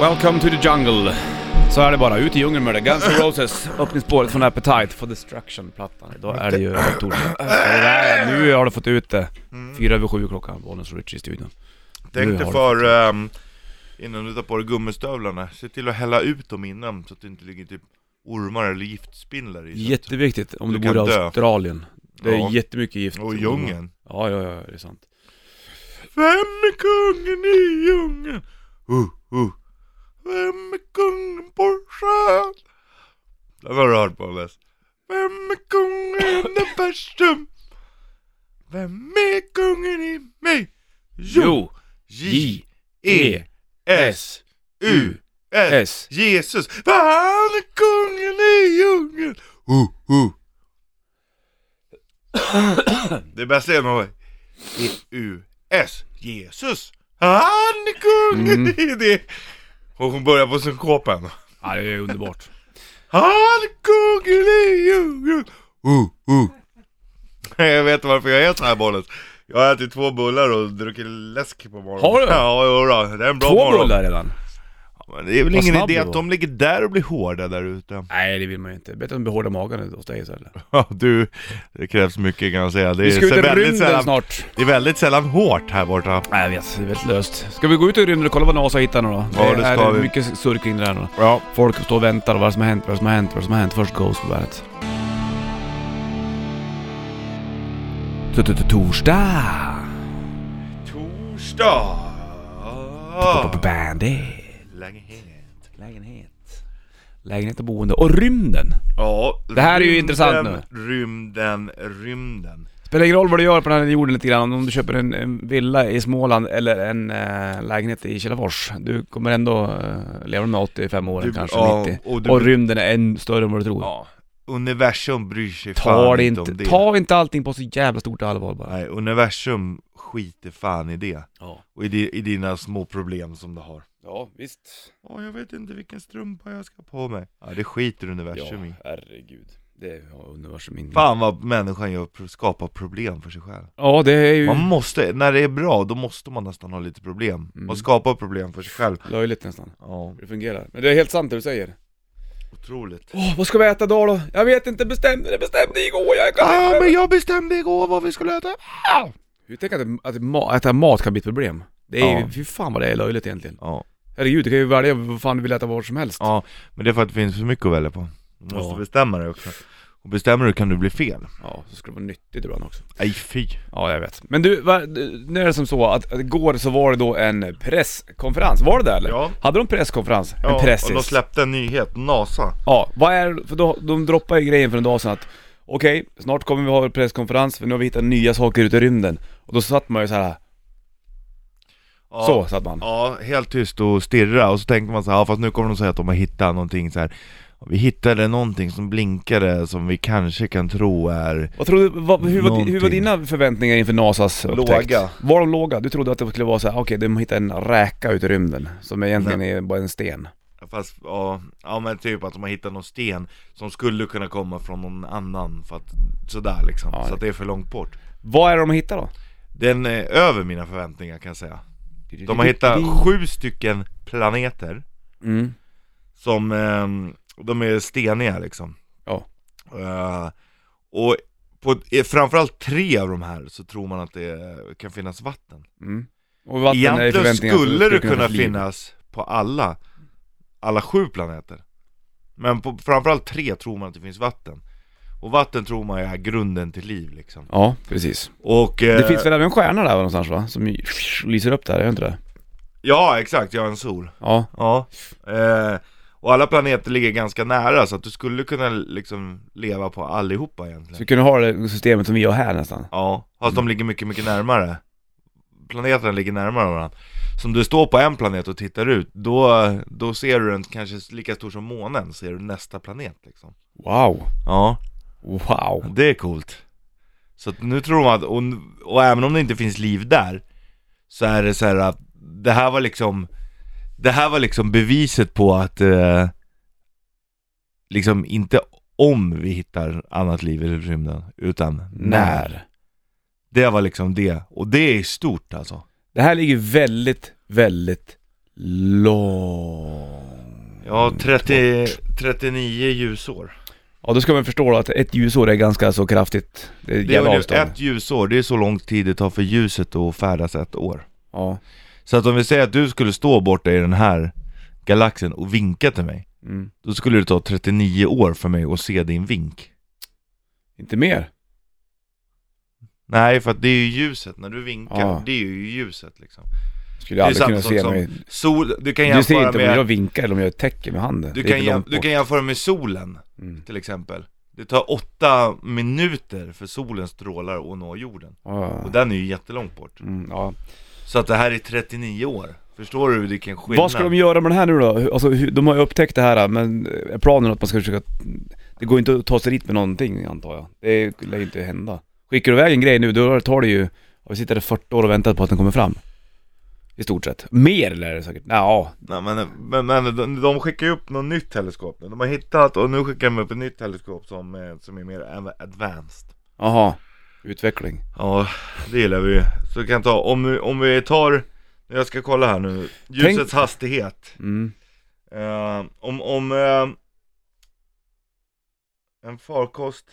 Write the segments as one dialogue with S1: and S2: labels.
S1: Welcome to the jungle. Så är det bara, ut i djungeln med det. Guns N' Roses, öppningsspåret från Appetite for Destruction-plattan. Idag är det ju torsdag. Så det där, Nu har du fått ut det.
S2: Mm.
S1: Fyra över sju klockan, Bonus och Richie i studion. Nu
S2: Tänk dig
S1: har
S2: för ehm, innan du tar på dig gummistövlarna, se till att hälla ut dem innan så att det inte ligger typ ormar eller giftspindlar i. så att-
S1: Jätteviktigt om du,
S2: Du
S1: bor i
S2: kan dö.
S1: Australien. Det är
S2: Ja.
S1: jättemycket gift.
S2: Och djungeln.
S1: Ja, ja, ja, det är sant.
S2: Vem är kungen i djungeln? Uh, uh. Vem är kungen på sjön? Den har du hört på Les. Vem är kungen i universum? Vem är kungen i mig?
S1: Jo, J, E, S,
S2: E
S1: U, S.
S2: Jesus, vad han är kungen i djungeln! Uh, uh. Det bästa är nog E-U-S, Jesus, han är kungen
S1: Mm.
S2: i det! Och hon börjar på synkopen.
S1: Ja, det är underbart.
S2: Han är kungen i djungeln! Uh, uh. Jag vet varför jag är så här bollen. Jag har ätit två bullar och druckit läsk på morgonen.
S1: Har du?
S2: Ja, jodå. Det är en bra
S1: Två
S2: morgon.
S1: bullar redan?
S2: Men det är väl
S1: Vad
S2: ingen
S1: snabb
S2: idé
S1: du
S2: att
S1: var.
S2: de ligger där och blir hårda där ute.
S1: Nej, det vill man ju inte. Bättre att de behåller magen hos dig istället.
S2: Ja, du, det krävs mycket kan jag säga. Det
S1: Vi
S2: är,
S1: ska ut i
S2: så väldigt
S1: rymden
S2: sällan,
S1: snart.
S2: det är väldigt sällan hårt här borta.
S1: Nej, jag vet. Det är väldigt löst. Ska vi gå ut i rymden och kolla vad NASA hittar nu då?
S2: Ja, det ska
S1: är
S2: vi.
S1: mycket surr kring det där nu.
S2: Ja.
S1: Folk står och väntar och vad som har hänt, vad som har hänt, vad som har hänt. Först Ghost på bandet. Torsdag!
S2: Torsdag!
S1: På Bandit.
S2: Lägenhet.
S1: Lägenhet. Lägenhet och boende. Och rymden!
S2: Ja,
S1: Det här är ju intressant
S2: nu. Rymden, rymden.
S1: Spelar ingen roll vad du gör på den här jorden lite grann, om du köper en, en villa i Småland eller en eh, lägenhet i Kilafors. Du kommer ändå eh, leva med 85 år,
S2: Du-
S1: kanske
S2: ja,
S1: 90. Och,
S2: och du-
S1: rymden är än större än vad du tror.
S2: Ja. Universum bryr sig
S1: ta,
S2: fan
S1: det
S2: inte om
S1: inte,
S2: det.
S1: ta inte allting på så jävla stort allvar bara.
S2: Nej, universum skiter fan i det.
S1: Ja,
S2: Och i, di- i dina små problem som du har.
S1: ja visst.
S2: Åh, jag vet inte vilken strumpa jag ska ha på mig. Ja, det skiter universum i.
S1: herregud. Det är ja, universum in.
S2: Fan vad människan gör, pro- skapar problem för sig själv.
S1: Ja, det är ju
S2: Man måste, när det är bra, då måste man nästan ha lite problem.
S1: Mm.
S2: Och skapa problem för sig själv.
S1: löjligt nästan.
S2: Ja,
S1: Det fungerar. Men det är helt sant det du säger.
S2: otroligt.
S1: Åh, vad ska vi äta idag då? Jag vet inte, bestämde det bestämde igår. Jag kan
S2: Ah, men jag bestämde igår vad vi skulle äta. Ah!
S1: Hur tänker att, att, ma- äta mat kan bli ett problem? Det är ju,
S2: Ja.
S1: fy fan vad det är löjligt egentligen.
S2: Ja,
S1: Herregud, du kan ju välja vad fan du vill äta vad som helst.
S2: ja, men det är för att det finns för mycket att välja på. Du måste
S1: Ja.
S2: bestämma dig också. Och bestämmer du kan du bli fel.
S1: Ja, så skulle det vara nyttigt ibland också.
S2: Nej fy.
S1: Ja, jag vet. Men du, va, du, nu är det som så att, att igår så var det då en presskonferens, var det det eller?
S2: Ja.
S1: Hade de presskonferens?
S2: Ja,
S1: en pressis?
S2: och de släppte en nyhet, NASA.
S1: Ja, vad är för då, de droppade ju grejen för en dag sedan att okej, snart kommer vi ha en presskonferens för nu har vi hittat nya saker ute i rymden. Och då satt man ju så här.
S2: Ja.
S1: så satt man.
S2: Ja, helt tyst och stirra och så tänkte man så här, ja, fast nu kommer de säga att de har hittat någonting så här. Vi hittade någonting som blinkade som vi kanske kan tro är
S1: Vad trodde, vad, hur, var, hur var
S2: Någonting.
S1: dina förväntningar inför NASAs upptäckt?
S2: Låga.
S1: Var de låga? Du trodde att det skulle vara så här, okej, de hittar en räka ute i rymden, som egentligen är bara en sten.
S2: Fast, ja, ja men typ att de har hittat någon sten som skulle kunna komma från någon annan för att, sådär liksom,
S1: Ja,
S2: så att det är för långt bort
S1: Vad är det de hittar då?
S2: Den är över mina förväntningar kan jag säga De har hittat sju stycken planeter
S1: Mm.
S2: som, ehm, de är steniga liksom
S1: Ja.
S2: Eh, Och på, eh, framförallt tre av de här så tror man att det kan finnas vatten
S1: Mm. Och vatten är i
S2: Egentligen
S1: förväntningar att
S2: skulle det kunna
S1: finnas liv.
S2: finnas på alla, alla sju planeter. Men på framförallt tre tror man att det finns vatten. Och vatten tror man är grunden till liv liksom.
S1: Ja, precis.
S2: Och... Eh,
S1: Det finns väl även en stjärna där någonstans va? Som ju- lyser upp där, är det inte det?
S2: Ja, exakt, jag är en sol.
S1: Ja.
S2: Ja. Eh, och alla planeter ligger ganska nära så att du skulle kunna liksom leva på allihopa
S1: Så
S2: egentligen.
S1: vi kunde ha det systemet som vi har här nästan.
S2: Ja, fast de ligger mycket, mycket närmare. Planeterna ligger närmare varandra. Så om du står på en planet och tittar ut, då, då ser du den kanske lika stor som månen, ser du nästa planet liksom.
S1: Wow.
S2: Ja,
S1: Wow.
S2: det är coolt. Så att nu tror man att, och, och även om det inte finns liv där, så är det så här att det här var liksom, det här var liksom beviset på att, eh, liksom inte om vi hittar annat liv i rymden, utan när.
S1: När?
S2: Det var liksom det, och det är stort alltså
S1: Det här ligger väldigt, väldigt långt
S2: Ja,
S1: Mm,
S2: 30, 39 ljusår.
S1: Ja, då ska man förstå att ett ljusår är ganska så kraftigt. Det är ett
S2: Det är
S1: jävla
S2: ungefär
S1: avstånd.
S2: ett ljusår, det är så lång tid det tar för ljuset att färdas ett år.
S1: Ja.
S2: Så att om vi säger att du skulle stå borta i den här galaxen och vinka till mig,
S1: Mm.
S2: då skulle det ta 39 år för mig att se din vink.
S1: Inte mer.
S2: Nej, för att det är ju ljuset, när du vinkar,
S1: Ja.
S2: det är ju ljuset liksom.
S1: Skulle jag
S2: Det är
S1: aldrig kunna
S2: samma
S1: se
S2: sak
S1: mig.
S2: Sol, du kan
S1: Du ser
S2: jämföra
S1: inte om jag
S2: med,
S1: vinkar eller om jag täcker med handen.
S2: du
S1: Det är
S2: kan,
S1: för
S2: jäm,
S1: långt
S2: du
S1: bort.
S2: kan jämföra med solen
S1: Mm.
S2: till exempel. Det tar åtta minuter för solens strålar att nå jorden.
S1: Ja.
S2: Och den är ju jättelångt bort.
S1: Mm, ja.
S2: Så att det här är 39 år. Förstår du vilken skillnad?
S1: Vad ska de göra med den här nu då? Hur- Alltså, hur- de har ju upptäckt det här men är planen att man ska försöka... Det går inte att ta sig dit med någonting antar jag. Det lär ju inte hända. Skickar du iväg en grej nu då tar det ju... ja, Vi sitter där 40 år och väntar på att den kommer fram. I stort sett. Mer lär det säkert. Ja,
S2: Nej, men, men, men de, de skickar ju upp något nytt teleskop nu. De har hittat och nu skickar de upp ett nytt teleskop som, eh, som är mer av- advanced.
S1: jaha. Utveckling.
S2: Ja, det gillar vi ju. Så vi kan ta, om, vi- om vi tar, jag ska kolla här nu, ljusets
S1: Tänk-
S2: hastighet.
S1: Mm.
S2: Eh, om, om eh, en farkost,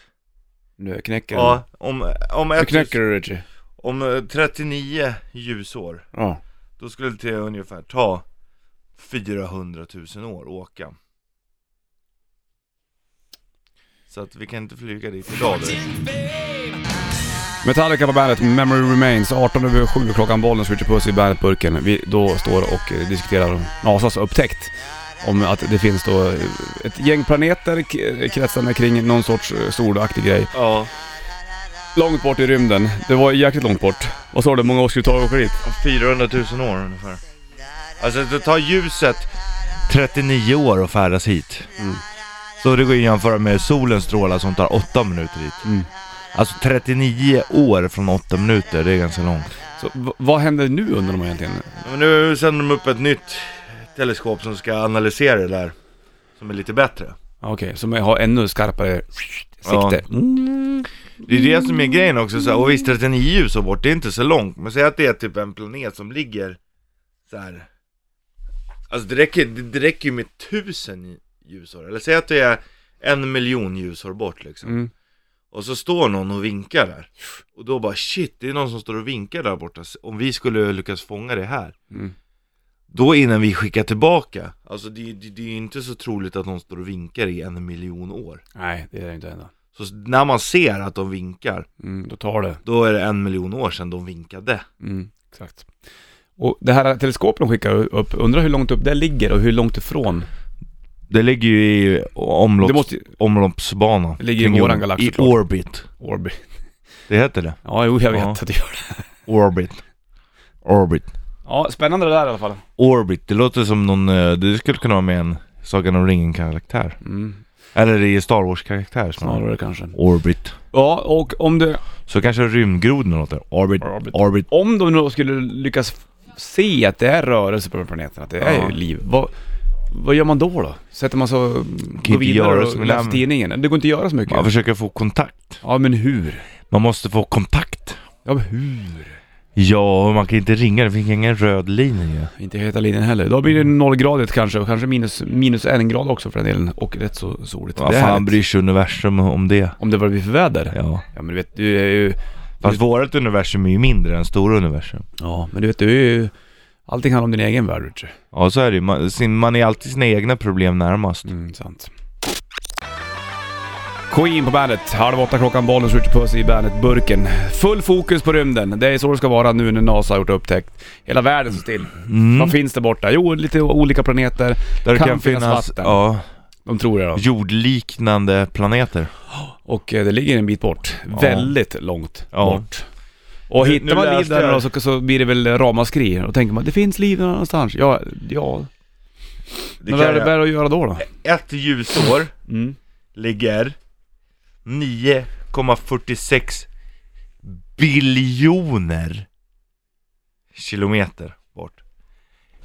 S1: Nu knäcker den.
S2: ja, om, om,
S1: Nu
S2: ett,
S1: knäcker du Richie.
S2: om eh, 39 ljusår,
S1: Ja.
S2: då skulle det ungefär ta 400 000 år att åka. Så att vi kan inte flyga dit idag du.
S1: Metallica på bandet, Memory Remains, 18 över 7 klockan, Bollnäs, Richard Puss i bandet-burken. Vi då står och eh, diskuterar Nasas upptäckt om att det finns då eh, ett gäng planeter k- kretsande kring någon sorts eh, solaktig grej.
S2: Ja,
S1: Långt bort i rymden. Det var jäkligt långt bort. Vad sa du, många år skulle det ta att åka dit?
S2: om 400 000 år ungefär. Alltså det tar ljuset 39 år att färdas hit.
S1: Mm.
S2: Så det går ju att jämföra med solens strålar som tar 8 minuter hit.
S1: Mm.
S2: Alltså 39 år från 8 minuter, det är ganska långt.
S1: Så v- vad händer nu undrar man egentligen?
S2: Men nu sänder de upp ett nytt teleskop som ska analysera det där. Som är lite bättre.
S1: Ah, Okej, som har ännu skarpare sikte. Mm.
S2: Det är det som är grejen också, så här, och visst 39 ljusår bort, det är inte så långt, men säg att det är typ en planet som ligger så här. Alltså det räcker, det det räcker ju med tusen ljusår, eller säg att det är en miljon ljusår bort liksom.
S1: Mm.
S2: Och så står någon och vinkar där. Och då bara shit, det är någon som står och vinkar där borta. Om vi skulle lyckas fånga det här.
S1: Mm.
S2: Då innan vi skickar tillbaka. Alltså det, det, det är ju inte så troligt att någon står och vinkar i en miljon år.
S1: Nej, det är det inte ändå.
S2: Så s- när man ser att de vinkar.
S1: Mm, då tar det.
S2: Då är det en miljon år sedan de vinkade.
S1: Mm, exakt. Och det här teleskopet de skickar upp, undrar hur långt upp det ligger och hur långt ifrån?
S2: Det ligger ju i omlopps,
S1: Det måste ju-
S2: omloppsbana.
S1: Det ligger i
S2: Kring
S1: våran
S2: jorden.
S1: galax
S2: I
S1: såklart.
S2: orbit.
S1: Orbi.
S2: Det heter det.
S1: Ja, jo, jag vet
S2: Ja.
S1: att det gör det.
S2: Orbit. Orbit.
S1: Ja, spännande det där i alla fall.
S2: Orbit. Det låter som någon, eh, det skulle kunna vara med en Sagan om ringen-karaktär.
S1: Mm,
S2: Eller det är Star Wars-karaktär snarare.
S1: snarare kanske.
S2: Orbit.
S1: Ja, och om det,
S2: Så kanske rymdgrodorna låter. Orbit.
S1: Orbit.
S2: Orbit.
S1: om de nu skulle lyckas f- se att det är rörelse på den här planeten, att det är
S2: Ja.
S1: ju liv, vad, vad gör man då då? Sätter man sig och går
S2: inte
S1: vidare
S2: göra
S1: och
S2: som i
S1: läser
S2: läm-
S1: tidningen? Det går inte att göra så mycket.
S2: Man försöker få kontakt.
S1: Ja, men hur?
S2: Man måste få kontakt.
S1: Ja, men hur?
S2: Ja, och man kan inte ringa. Det finns ingen röd linje.
S1: Inte heta linjen heller. Då blir det nollgradigt kanske, och kanske minus, minus en grad också för den delen. Och rätt så soligt.
S2: Vad
S1: Det är
S2: fan
S1: härligt.
S2: bryr sig universum om det?
S1: Om det bara blir för väder?
S2: Ja.
S1: Ja men du vet, du är ju...
S2: Fast vårt universum är ju mindre än stora universum.
S1: Ja men du vet, du är ju... Allting handlar om din egen värld Richard.
S2: Ja så är det ju, man, sin, man är alltid sina egna problem närmast.
S1: Mm, sant. Queen på bandet, halv åtta klockan, bollen skjuter puss i bandet-burken. Full fokus på rymden, det är så det ska vara nu när NASA har gjort upptäckt. Hela världen står still.
S2: Mm.
S1: Vad finns det borta? Jo, lite olika planeter.
S2: Där det
S1: kan
S2: kan,
S1: finnas
S2: finnas,
S1: vatten.
S2: ja,
S1: De tror det då.
S2: jordliknande planeter.
S1: Och eh, det ligger en bit bort. Väldigt långt
S2: Ja.
S1: bort. Och
S2: Nu-
S1: hittar
S2: nu
S1: man liv
S2: läste
S1: där då
S2: jag-
S1: så, så blir det väl ramaskri. Då tänker man, det finns liv någonstans. Ja, ja.
S2: Det
S1: Men vad är det
S2: kan,
S1: bara att göra då då?
S2: ett ljusår
S1: Mm.
S2: ligger 9,46 biljoner kilometer bort.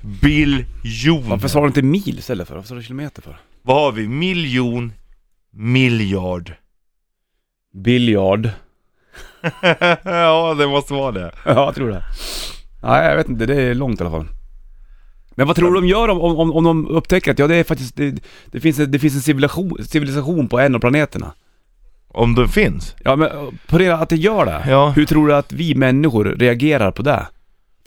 S2: Biljoner.
S1: Varför sa du inte mil istället för? Varför sa du kilometer för?
S2: Vad har vi? Miljon, miljard.
S1: Biljard.
S2: ja, det måste vara det.
S1: Ja, jag tror det. Nej, jag vet inte. Det är långt i alla fall. Men vad tror du de gör om, om, om- om de upptäcker att ja, det, är faktiskt, det, det finns, en- det finns en civilisation, civilisation på en av planeterna?
S2: Om den finns?
S1: Ja men eh, på det att det gör det,
S2: Ja.
S1: hur tror du att vi människor reagerar på det?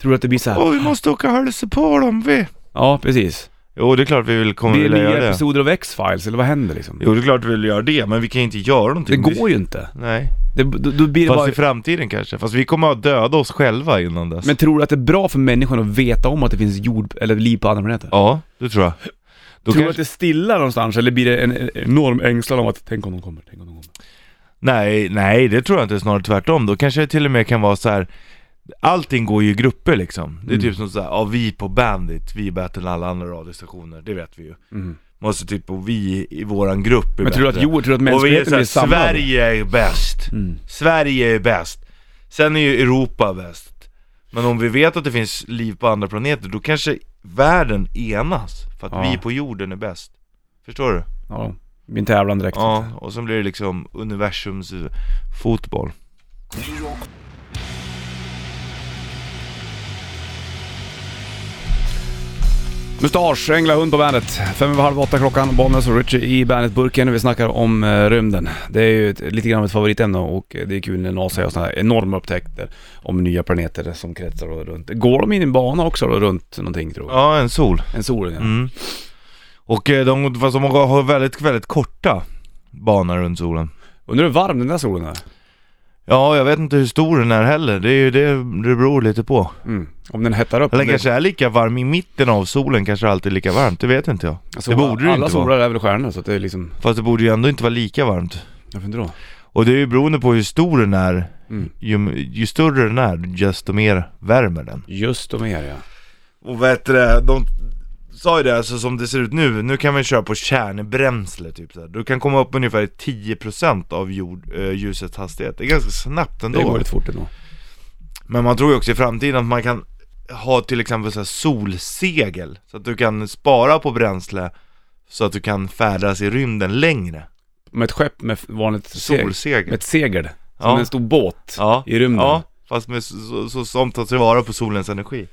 S1: Tror du att det blir så här?
S2: Åh, vi måste åka och hälsa på dem vi!
S1: ja precis.
S2: Jo, det är klart vi vill komma
S1: Blir det
S2: vilja
S1: nya
S2: göra det.
S1: episoder av X-Files eller vad händer liksom?
S2: Jo, det är klart vi vill göra det, men vi kan inte göra
S1: Det
S2: någonting.
S1: går ju inte.
S2: Nej.
S1: Det, då, då blir det
S2: Fast
S1: bara...
S2: i framtiden kanske. Fast vi kommer att döda oss själva innan dess.
S1: Men tror du att det är bra för människan att veta om att det finns jord eller liv på andra planeter?
S2: Ja, det tror jag. Då
S1: tror du
S2: kanske...
S1: att det är stilla någonstans eller blir det en en enorm ängslan om att tänk om de kommer, tänk om de kommer?
S2: Nej, nej, det tror jag inte. Snarare tvärtom. Då kanske det till och med kan vara så här. Allting går ju i grupper liksom. Det är
S1: Mm.
S2: typ som så här, ja vi på Bandit, vi är bättre än alla andra radiostationer. Det vet vi ju.
S1: Mm.
S2: Måste typ, och vi i våran grupp är
S1: Men tror du att
S2: bättre.
S1: jord, tror du att
S2: Och vi är
S1: mänskligheten
S2: så här,
S1: blir samlad?
S2: Sverige är bäst.
S1: Mm.
S2: Sverige är bäst. Sen är ju Europa bäst. Men om vi vet att det finns liv på andra planeter, då kanske världen enas. För att
S1: Ja.
S2: vi på jorden är bäst. Förstår du?
S1: Ja, min tävlan direkt.
S2: Ja, och sen blir det liksom universums fotboll.
S1: Mustasch, ängla, hund på bandet. Fem över halv åtta klockan, Bollnäs och Richie i Bandet-burken. Vi snackar om eh, rymden. Det är ju ett, lite grann av ett favoritämne och eh, det är kul när NASA gör sådana här enorma upptäckter om nya planeter som kretsar då runt. Går de in i en bana också då, runt någonting tror jag?
S2: Ja, en sol.
S1: En sol, ja.
S2: Mm. Och eh, de, fast de har väldigt, väldigt korta banor runt solen.
S1: Undrar hur varm den där solen är?
S2: Ja, jag vet inte hur stor den är heller. Det är ju det det beror lite på.
S1: Mm. Om den hettar upp.
S2: Eller
S1: Om det-
S2: kanske är lika varm i mitten av solen, kanske det alltid är lika varmt. Det vet inte jag.
S1: alltså,
S2: det borde det
S1: Alla
S2: inte
S1: solar
S2: vara.
S1: är väl stjärnor så att det är liksom...
S2: Fast det borde ju ändå inte vara lika varmt.
S1: Varför inte då?
S2: Och det är ju beroende på hur stor den är.
S1: Mm.
S2: Ju, ju större den är, desto mer värmer den.
S1: Just de är ja.
S2: Och vet du det, de sa ju det, alltså som det ser ut nu, nu kan man köra på kärnbränsle typ så här. Du kan komma upp ungefär i 10% av jord, eh, ljusets hastighet. Det är ganska snabbt
S1: Det går
S2: ändå.
S1: lite fort ändå.
S2: Men man tror ju också i framtiden att man kan ha till exempel så här solsegel. Så att du kan spara på bränsle så att du kan färdas i rymden längre.
S1: Med ett skepp med vanligt segel. Med
S2: Solsegel.
S1: ett segel. Som
S2: Ja.
S1: en stor båt
S2: Ja.
S1: i rymden.
S2: Ja, fast med, så, så, så, som tar tillvara på solens energi.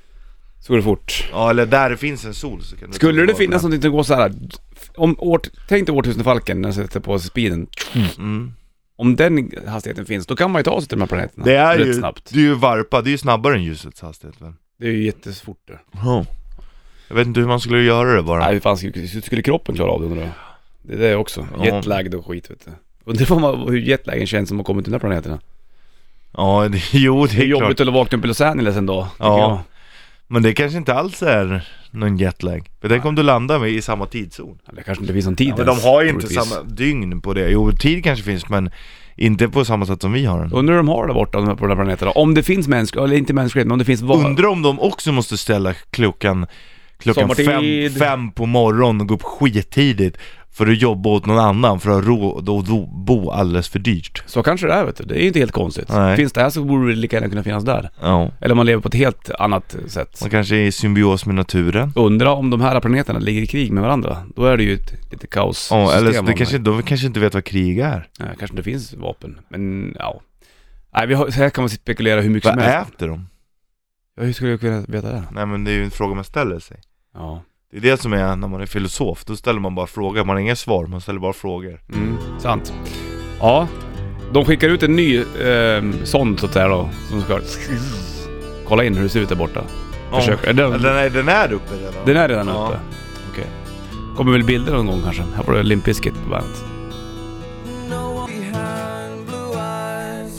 S1: Så går det fort.
S2: Ja, eller där det finns en sol så kan du ta
S1: Skulle det
S2: tillvara på
S1: finnas
S2: den.
S1: någonting som går så här. Om år, tänk dig årtusendefalken när den sätter på sig speeden.
S2: Mm.
S1: Om den hastigheten finns, då kan man ju ta sig till de här planeterna.
S2: Det är
S1: rätt
S2: ju,
S1: snabbt.
S2: det är ju varpa, det är ju snabbare än ljusets hastighet väl?
S1: Det är ju jättesvårt det.
S2: Jag vet inte hur man skulle göra det bara.
S1: Nej, hur fan skulle, hur skulle kroppen klara av det undrar jag? Det är det också.
S2: Ja.
S1: Jetlagged och skit vet du. Undrar vad man- hur jetlagen känns som har kommit till de här planeterna.
S2: Ja, det, jo det
S1: Det är
S2: är klart.
S1: jobbigt att vakna upp i Los Angeles en dag. tycker
S2: Ja.
S1: jag.
S2: Men det kanske inte alls är någon jetlag. För den kommer du landa med i samma tidszon.
S1: Eller kanske inte finns någon tid
S2: men de
S1: ens,
S2: har ju inte
S1: troligtvis.
S2: samma dygn på det. Jo, tid kanske finns men inte på samma sätt som vi har den.
S1: Undrar hur de har det borta de här- på de här planeterna. Om det finns mänsklighet, eller inte mänsklighet, men om det finns var...
S2: Undrar om de också måste ställa klockan, klockan fem,
S1: Sommartid.
S2: fem på morgonen och gå upp skittidigt för att jobba åt någon annan för att ha råd att do- bo alldeles för dyrt.
S1: Så kanske det är vet du. Det är ju inte helt konstigt.
S2: Nej.
S1: Finns det här så borde det lika gärna kunna finnas där.
S2: Ja.
S1: Eller om man lever på ett helt annat sätt.
S2: Man kanske är i symbios med naturen.
S1: Undra om de här planeterna ligger i krig med varandra. Då är det ju ett lite kaos
S2: Ja, eller
S1: system
S2: det
S1: av
S2: kanske, de kanske inte vet vad krig är.
S1: Nej, kanske inte finns vapen, men ja. Nej, vi har, så här kan man spekulera hur mycket
S2: Vad
S1: som helst.
S2: äter de?
S1: Ja, hur skulle jag kunna veta det?
S2: Nej men det är ju en fråga man ställer sig
S1: Ja.
S2: Det är det som är när man är filosof, då ställer man bara frågor, man har inga svar, man ställer bara frågor
S1: Mm, sant. Ja, de skickar ut en ny eh, sond så att säga då, som ska kolla in hur det ser ut där borta. Försök. Är
S2: Ja,
S1: Den,
S2: Den är, den är uppe redan?
S1: den är redan
S2: Ja.
S1: uppe. Okej. Kommer väl bilder någon gång kanske. Här får du Limp Bizkit på bandet.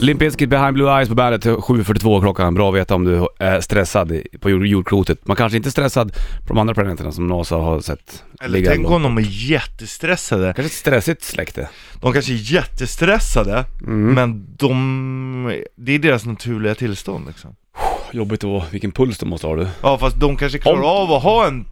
S1: Limp Bizkit behind blue eyes på bandet 7.42 klockan. Bra att veta om du eh, är stressad i- på jord- jordklotet. Man kanske inte är stressad på de andra planeterna som NASA har sett.
S2: Eller
S1: ligga
S2: tänk
S1: ändå.
S2: om de är jättestressade
S1: Kanske ett stressigt släkte. Mm.
S2: De kanske är jättestressade, men de... Det är deras naturliga tillstånd liksom
S1: Jobbigt då. Vilken puls du måste ha du.
S2: Ja fast de kanske klarar
S1: Om-
S2: av att ha en,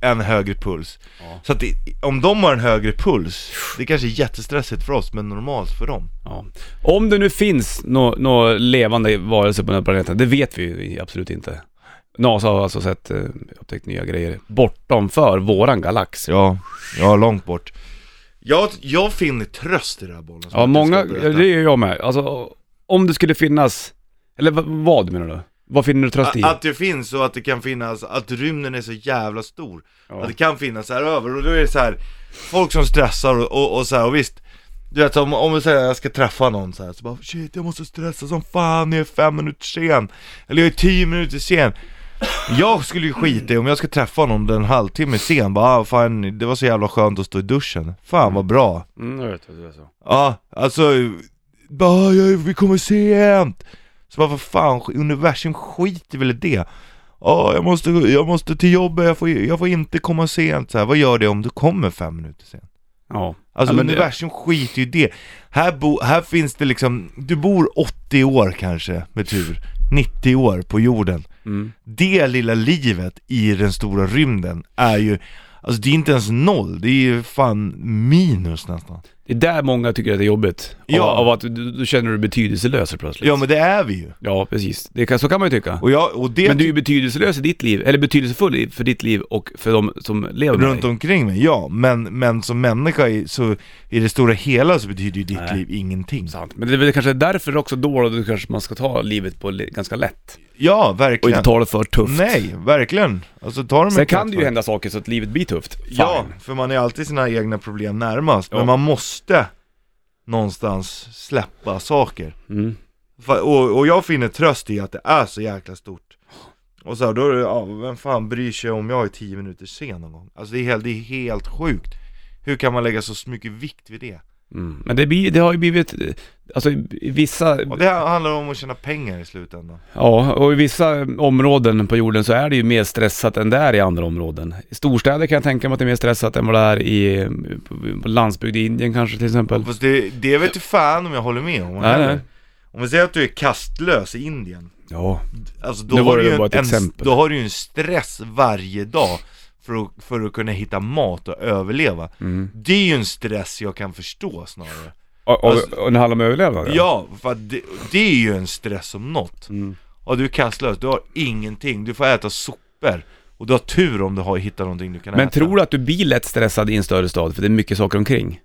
S2: en högre puls Så att det, om de har en högre puls, det kanske är jättestressigt för oss, men normalt för dem
S1: Ja. Om det nu finns några nå levande varelser på den här planeten, det vet vi ju absolut inte. NASA har alltså sett, eh, upptäckt nya grejer bortomför våran galax. Ja,
S2: Ja, ja långt bort. Jag, jag finner tröst i det här bollen. som
S1: många,
S2: jag inte ska
S1: det
S2: berätta.
S1: är jag med. Alltså, om det skulle finnas, eller v- vad menar du? Vad finner du tröst i?
S2: Att det finns och att det kan finnas, att rymden är så jävla stor.
S1: Ja.
S2: Att det kan finnas här över och då är det så här folk som stressar och, och, och så här, och visst. Du vet om, om vi säger att jag ska träffa någon så här, så bara shit jag måste stressa som fan, jag är fem minuter sen. Eller jag är tio minuter sen. Jag skulle ju skita i om jag ska träffa någon den halvtimme sen, bara ah, fan det var så jävla skönt att stå i duschen. Fan vad bra.
S1: Mm, jag vet vad du är så.
S2: Ja, alltså, bara, ja, vi kommer sent! Så bara, vad fan, sk- universum skiter väl i det? Ja, jag måste, jag måste till jobbet, jag får, jag får inte komma sent så här. Vad gör det om du kommer fem minuter sent?
S1: Ja.
S2: Alltså
S1: ja, men det-
S2: universum skiter ju i det. Här, bo, här finns det liksom, du bor 80 år kanske med tur, 90 år på jorden.
S1: Mm.
S2: Det lilla livet i den stora rymden är ju, alltså det är inte ens noll, det är ju fan minus nästan.
S1: Det är där många tycker att det är jobbigt.
S2: Ja.
S1: Av, av att du, du då känner du dig betydelselös plötsligt.
S2: Ja men det är vi ju.
S1: ja precis. Det kan, så kan man ju tycka.
S2: Och, jag, och det typ-
S1: Men du är ju betydelselös i ditt liv, eller betydelsefull i- för ditt liv och för de som lever med
S2: runt
S1: dig.
S2: omkring mig, ja. Men, men som människa i, så, i det stora hela så betyder ju ditt
S1: Nej.
S2: liv ingenting.
S1: Sant. Men det är väl kanske därför också då, då du kanske man ska ta livet på li- ganska lätt.
S2: Ja,
S1: Och
S2: verkligen.
S1: inte ta det för tufft.
S2: Nej, verkligen. Alltså ta dem
S1: Sen
S2: med
S1: kan det ju
S2: kraftfull.
S1: hända saker så att livet blir tufft. Fine.
S2: Ja, för man är alltid sina egna problem närmast.
S1: Ja.
S2: Men man måste någonstans släppa saker.
S1: Mm.
S2: Fa- Och, och jag finner tröst i att det är så jäkla stort. Och så här, då är det, ja, vem fan bryr sig om jag är 10 minuter sen någon gång? Alltså det är helt, det är helt sjukt. Hur kan man lägga så mycket vikt vid det?
S1: Mm. Men det, blir, det har ju blivit, eh, alltså i- i vissa,
S2: Och det handlar om att tjäna pengar i slutändan.
S1: ja, och i vissa områden på jorden så är det ju mer stressat än det är i andra områden. I storstäder kan jag tänka mig att det är mer stressat än vad det är i, eh, på- på landsbygd i Indien kanske till exempel.
S2: Fast det, det vet du fan om jag håller med om
S1: Nej,
S2: heller.
S1: nej.
S2: Om vi säger att du är kastlös i Indien
S1: Ja,
S2: Alltså då,
S1: Nu var
S2: har,
S1: det
S2: du ju
S1: bara
S2: en,
S1: ett exempel.
S2: då har du ju en stress varje dag för att, för att kunna hitta mat och överleva
S1: Mm.
S2: Det är ju en stress jag kan förstå snarare
S1: och, och,
S2: Alltså-
S1: och när det handlar om överlevnad?
S2: Ja, för att det, det är ju en stress om något
S1: Mm.
S2: Och du är kastlös, du har ingenting, du får äta sopor Och du har tur om du har hittat någonting du kan
S1: Men
S2: äta
S1: tror du att du blir lätt stressad i en större stad för det är mycket saker omkring?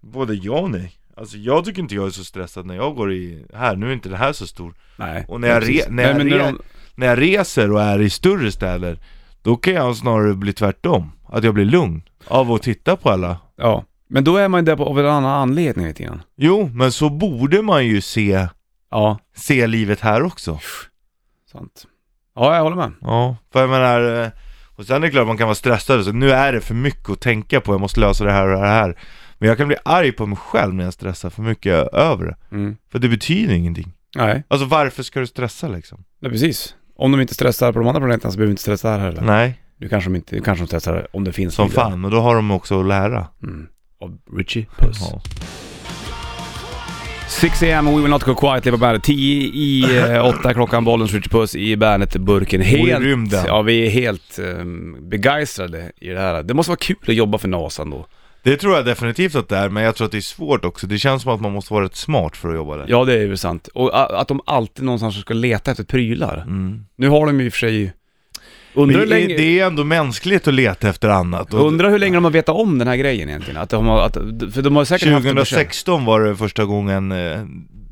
S2: Både ja och nej Alltså jag tycker inte jag är så stressad när jag går i, här, nu är inte det här så stor
S1: Nej.
S2: Och när jag, re-
S1: Precis.
S2: när, jag
S1: Nej, men
S2: re-
S1: de-
S2: när jag reser och är i större städer, då kan jag snarare bli tvärtom. Att jag blir lugn av att titta på alla.
S1: Ja, men då är man ju där på, av en annan anledning lite grann.
S2: Jo, men så borde man ju se,
S1: Ja,
S2: se livet här också.
S1: sant. Ja, jag håller med.
S2: Ja, för jag menar, eh, och sen är det klart man kan vara stressad, så nu är det för mycket att tänka på, jag måste lösa det här och det här. Men jag kan bli arg på mig själv när jag stressar för mycket över det.
S1: Mm.
S2: För det betyder ingenting.
S1: Nej,
S2: Alltså varför ska du stressa liksom?
S1: nej, precis. Om de inte stressar på de andra planeterna så behöver vi inte stressa här heller.
S2: Nej,
S1: Nu kanske de inte, nu kanske de stressar om det finns
S2: som
S1: vidare.
S2: fan, men då har de också att lära.
S1: Mm. Av Richie Puss.
S2: Ja.
S1: 6 am, we will not go quietly på bandet. 10 i 8 klockan, Bollens Richie Puss i bandet Burken.
S2: i
S1: Helt,
S2: rymden.
S1: ja vi är helt um, begeistrade i det här. Det måste vara kul att jobba för NASA då.
S2: Det tror jag definitivt att det är, men jag tror att det är svårt också. Det känns som att man måste vara rätt smart för att jobba där.
S1: Ja det är ju sant. Och a- att de alltid någonstans ska leta efter prylar.
S2: Mm.
S1: Nu har de i och för sig...
S2: Men
S1: Undrar hur,
S2: det,
S1: länge,
S2: är, det är ändå mänskligt att leta efter annat. Och
S1: undrar hur länge de har vetat om den här grejen egentligen. Att de har, att, för de har säkert haft den på känn.
S2: 2016 var det första gången eh,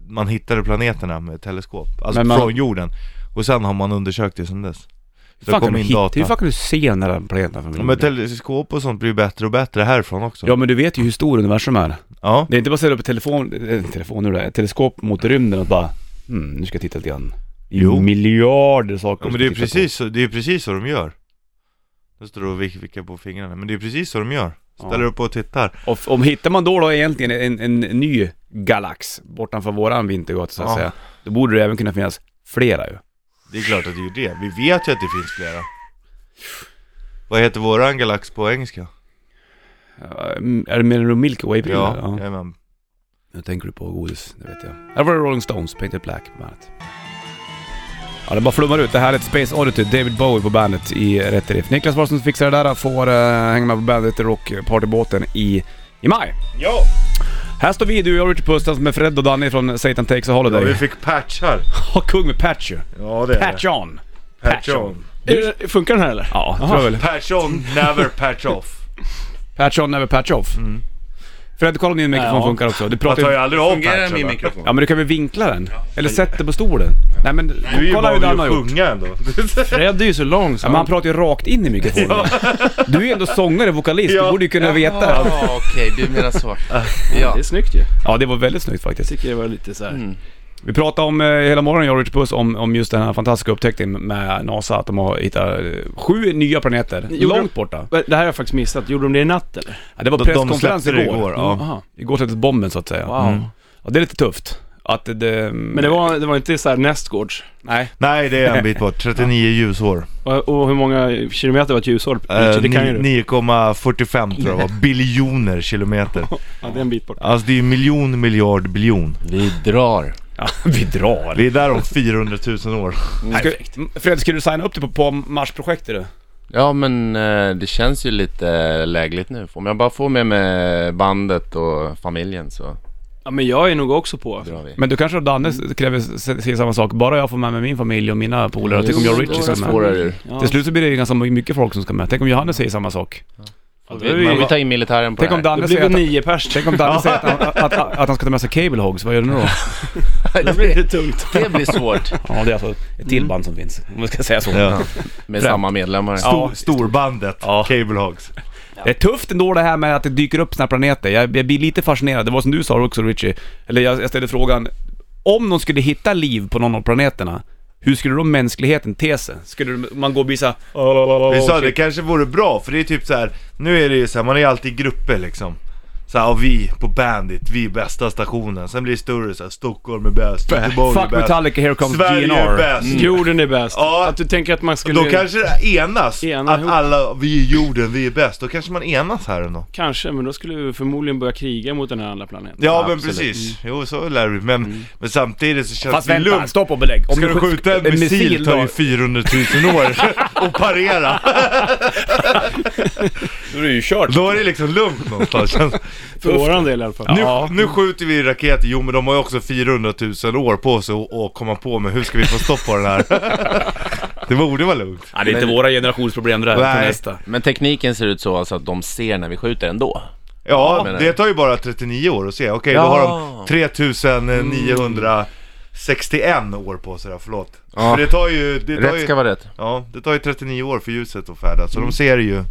S2: man hittade planeterna med teleskop, alltså
S1: Men man-
S2: från jorden. Och sen har man undersökt det sedan dess.
S1: Hur fan,
S2: kom
S1: kan du
S2: in
S1: hitta,
S2: data.
S1: hur fan kan du se den här planeten från
S2: Ja, men
S1: jorden?
S2: teleskop och sånt blir ju bättre och bättre härifrån också.
S1: Ja men du vet ju hur stor universum är.
S2: Ja.
S1: Det är inte bara att ställa upp ett telefon, eh, telefon nu det är, ett teleskop mot rymden och bara hmm, nu ska jag titta lite grann. Det är
S2: Jo.
S1: Miljarder saker
S2: Ja,
S1: du
S2: men det
S1: ska
S2: är
S1: titta på.
S2: precis, så, det är precis så de gör. Nu står du och vick- vickar på fingrarna, men det är precis så de gör. Ställer
S1: Ja.
S2: upp och tittar.
S1: Och f- om hittar man då, då egentligen en, en ny galax bortanför våran vintergata så att
S2: Ja.
S1: säga. Då borde det även kunna finnas flera ju.
S2: Det är klart att det är det. Vi vet ju att det finns flera. Vad heter våran galax på engelska?
S1: Eh, Är det menar du Milky Way prylar?
S2: Ja, jajamän.
S1: Nu tänker du på godis, det vet jag. Här var det Rolling Stones, Painted Black på bandet. Ja, det bara flummar ut. Det här är ett Space Oddity, David Bowie på bandet i rätt riff. Niklas Wahlström som fixar det där får eh, hänga med på bandet och partybåten i, i maj.
S2: ja.
S1: Här står vi, du och jag, Richard Puss, tillsammans med Fred och Danny från Satan Takes a
S2: ja,
S1: Holiday.
S2: vi fick patchar.
S1: Ja, kung med patch ju.
S2: Ja, det
S1: Patch on!
S2: Patch on.
S3: Du, funkar den här eller?
S1: Ja, tror jag väl.
S2: Patch on, never patch off.
S1: Patch on never patch off. Fredde, kolla om din mikrofon
S3: Ja.
S1: funkar också. Du
S2: Mm. Jag
S1: pratar
S2: tar ju
S1: ju...
S2: aldrig av
S4: Fungerar
S2: patchen.
S4: min
S2: va?
S4: mikrofon?
S1: Ja men du kan väl vinkla den? Eller sätt dig på stolen? Nej men
S2: Du är ju
S1: kolla hur
S2: bara
S1: Dan har
S2: med att
S1: gjort.
S2: sjunga ändå.
S3: Fred är ju så lång så
S1: Ja, men han pratar ju rakt in i mikrofonen. Du är ju ändå sångare och vokalist, du
S2: Ja.
S1: borde ju kunna veta.
S4: Ja, okej, du menar så. Ja.
S3: Det är snyggt ju.
S1: Ja det var väldigt snyggt faktiskt.
S3: Tycker det var lite så här.
S4: Mm.
S1: Vi pratade om eh, hela morgonen, jag och Rich Puss, om, om just den här fantastiska upptäckten med NASA, att de har hittat eh, sju nya planeter,
S3: Gjorde de-
S1: långt borta.
S3: Det här har jag faktiskt missat. Gjorde de det i natt eller?
S1: Ja, det var
S2: De- de
S1: presskonferens
S2: släppte det
S1: igår. Mm.
S2: igår. Ja.
S3: Aha.
S1: Igår släpptes bomben så att säga.
S3: Wow.
S2: Mm.
S1: Ja, det är lite tufft. Att det, det,
S3: Men det var, det var inte så här nästgårds?
S1: Nej.
S2: Nej, det är en bit bort. 39 ljusår.
S3: Och, och hur många kilometer var ett ljusår?
S2: Eh,
S3: det kan ju du.
S2: ni- 9,45 tror jag var. Biljoner kilometer.
S3: Ja, det är en bit bort.
S2: Alltså det är ju miljon, miljard, biljon.
S4: Vi drar.
S1: Ja, vi drar.
S2: Vi är där om 400 000 år.
S1: Ska, Fred, ska du signa upp dig på, på Marsprojektet du?
S4: Ja men eh, det känns ju lite lägligt nu. Om jag bara får med mig bandet och familjen så
S3: Ja, men jag är nog också på.
S4: drar vi.
S1: Men du kanske och Danne s- kräver s- säger samma sak. Bara jag får med mig min familj och mina polare. Tänk om jag och Richie ska med.
S4: svårare ur.
S3: Ja.
S1: Till slut så blir det ju ganska mycket folk som ska med. Tänk om Johannes säger samma sak.
S3: Ja, det är ju-
S4: Men vi tar in militären på
S1: Tänk
S4: det
S1: om
S4: här.
S3: Det
S1: Danne
S3: blir
S1: säger
S3: väl
S1: att,
S3: nio pers.
S1: tänk om Danne säger att, han, att, att, att han ska ta med sig Cable Hogs. Vad gör du då?
S3: Det blir lite tungt.
S4: Det blir svårt
S1: Ja, det är alltså ett till band som finns. Om man ska säga så.
S2: Ja.
S4: med samma medlemmar.
S2: Stor, storbandet, Cablehogs.
S1: Det är tufft ändå det här med att det dyker upp såna här planeter. Jag, jag blir lite fascinerad. Det var som du sa också Richie. Eller jag, jag ställde frågan. Om de skulle hitta liv på någon av planeterna, hur skulle då mänskligheten te sig? Skulle de- man gå och bli såhär...
S2: Vi sa det kanske vore bra, för det är typ så här. nu är det ju så här, man är ju alltid i grupper liksom. Så här, och vi på Bandit, vi är bästa stationen. Sen blir det större så här, Stockholm är bäst, Göteborg är
S1: Fuck
S2: bäst.
S1: Metallica, here comes
S2: Sverige är
S1: GNR.
S2: bäst.
S3: Jorden är bäst.
S2: Ja.
S3: Att du tänker att man skulle...
S2: Då kanske det enas,
S3: Ena
S2: att
S3: ihop.
S2: alla, vi är jorden, vi är bäst. Då kanske man enas här ändå.
S3: Kanske, men då skulle vi förmodligen börja kriga mot den här andra planeten.
S2: Ja men
S4: Absolut.
S2: precis, jo så lär vi. Men, men samtidigt så känns
S1: Mm. Fast
S2: det ju
S1: vänta,
S2: lugnt.
S1: stopp och belägg.
S2: Om Ska du
S1: sk-
S2: skjuta en missil tar ju 400 000 år och parera.
S1: då är det ju kört.
S2: Då är det liksom lugnt någonstans. känns-
S3: För våran del i alla fall.
S2: Nu, nu skjuter vi raketer, jo men de har ju också 400 000 år på sig att- att komma på med hur ska vi få stopp på den här. Det borde vara lugnt.
S1: Ja, det är inte våra generationsproblem det där.
S2: Nej.
S1: Nej. Nästa.
S4: Men tekniken ser ut så alltså att de ser när vi skjuter ändå.
S2: Ja,
S4: menar
S2: det
S4: jag.
S2: tar ju bara 39 år att se. Okej, då
S4: Ja.
S2: har de 3961 år på sig där, förlåt.
S4: Ja.
S2: För det tar ju... Det tar
S4: Rätt
S2: ju
S4: ska vara Mm. rätt.
S2: ja, det tar ju 39 år för ljuset att färdas, så de ser det ju.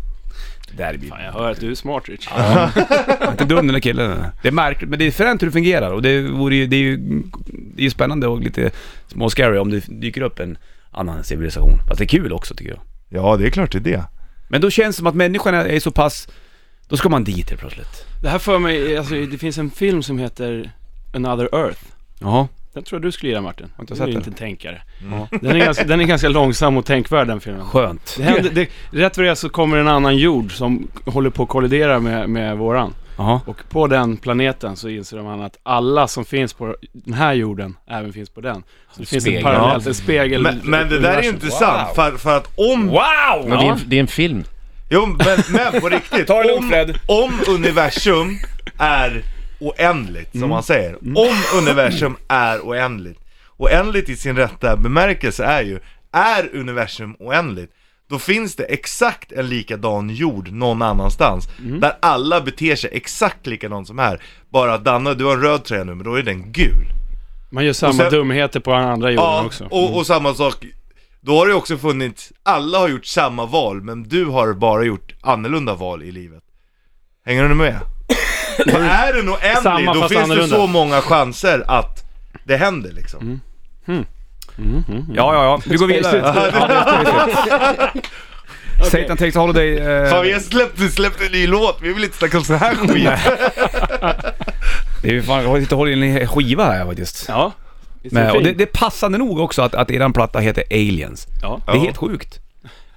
S1: Där blir
S3: Fan, jag hör att du är smart Rich.
S1: inte dum den där killen. Det är märkligt, men det är fränt hur det fungerar och det, vore ju, det är ju det är ju spännande och lite små scary om det dyker upp en annan civilisation. Fast det är kul också tycker jag.
S2: Ja, det är klart det är det.
S1: Men då känns det som att människan är är så pass... Då ska man dit helt plötsligt.
S3: Det här för mig, alltså, det finns en film som heter Another Earth.
S1: Jaha.
S3: Den tror jag du skulle gilla Martin.
S1: inte
S3: Du
S1: sett
S3: är ju
S1: den.
S3: inte en tänkare. Den, är ganska, den är ganska långsam och tänkvärd den filmen.
S1: Skönt.
S3: Det händer, det, rätt vad det är så kommer en annan jord som håller på att kollidera med, med våran.
S1: Jaha.
S3: Och på den planeten så inser man att alla som finns på den här jorden även finns på den. Så det finns ett
S4: Spegel.
S3: parallellt, ett spegel.
S2: Men, men det där är ju inte sant, för, för att om...
S1: Wow!
S4: Men det, är en, det är en film.
S2: Jo, men, men på riktigt.
S1: Ta det lugnt,
S2: om,
S1: Fred.
S2: om universum är oändligt,
S1: Mm.
S2: som man säger. Om universum är oändligt. Oändligt i sin rätta bemärkelse är ju, är universum oändligt, då finns det exakt en likadan jord någon annanstans.
S1: Mm.
S2: Där alla beter sig exakt likadant som här. Bara att Danne, du har en röd tröja nu, men då är den gul.
S3: Man gör samma
S2: Och sen-
S3: dumheter på den andra jorden
S2: Ja,
S3: också.
S2: och,
S1: Mm.
S2: och samma sak. Då har det också funnits, alla har gjort samma val, men du har bara gjort annorlunda val i livet. Hänger du med? Och är den oändlig,
S3: Samma
S2: då
S3: fast
S2: finns det
S3: annorlunda.
S2: så många chanser att det händer liksom.
S1: Mm. Ja, ja, ja. Vi går vidare. Ja, det ska vi se. Satan takes a holiday. eh,
S2: Fan vi har släppt, släppt en ny låt, vi vill inte snacka om så här skit.
S1: det är ju fan, jag har inte hållit i en hel skiva här faktiskt.
S3: Ja, visst är
S1: Men, och det,
S3: fint?
S1: det är passande nog också att, att eran platta heter Aliens.
S3: Ja.
S1: Det är helt sjukt.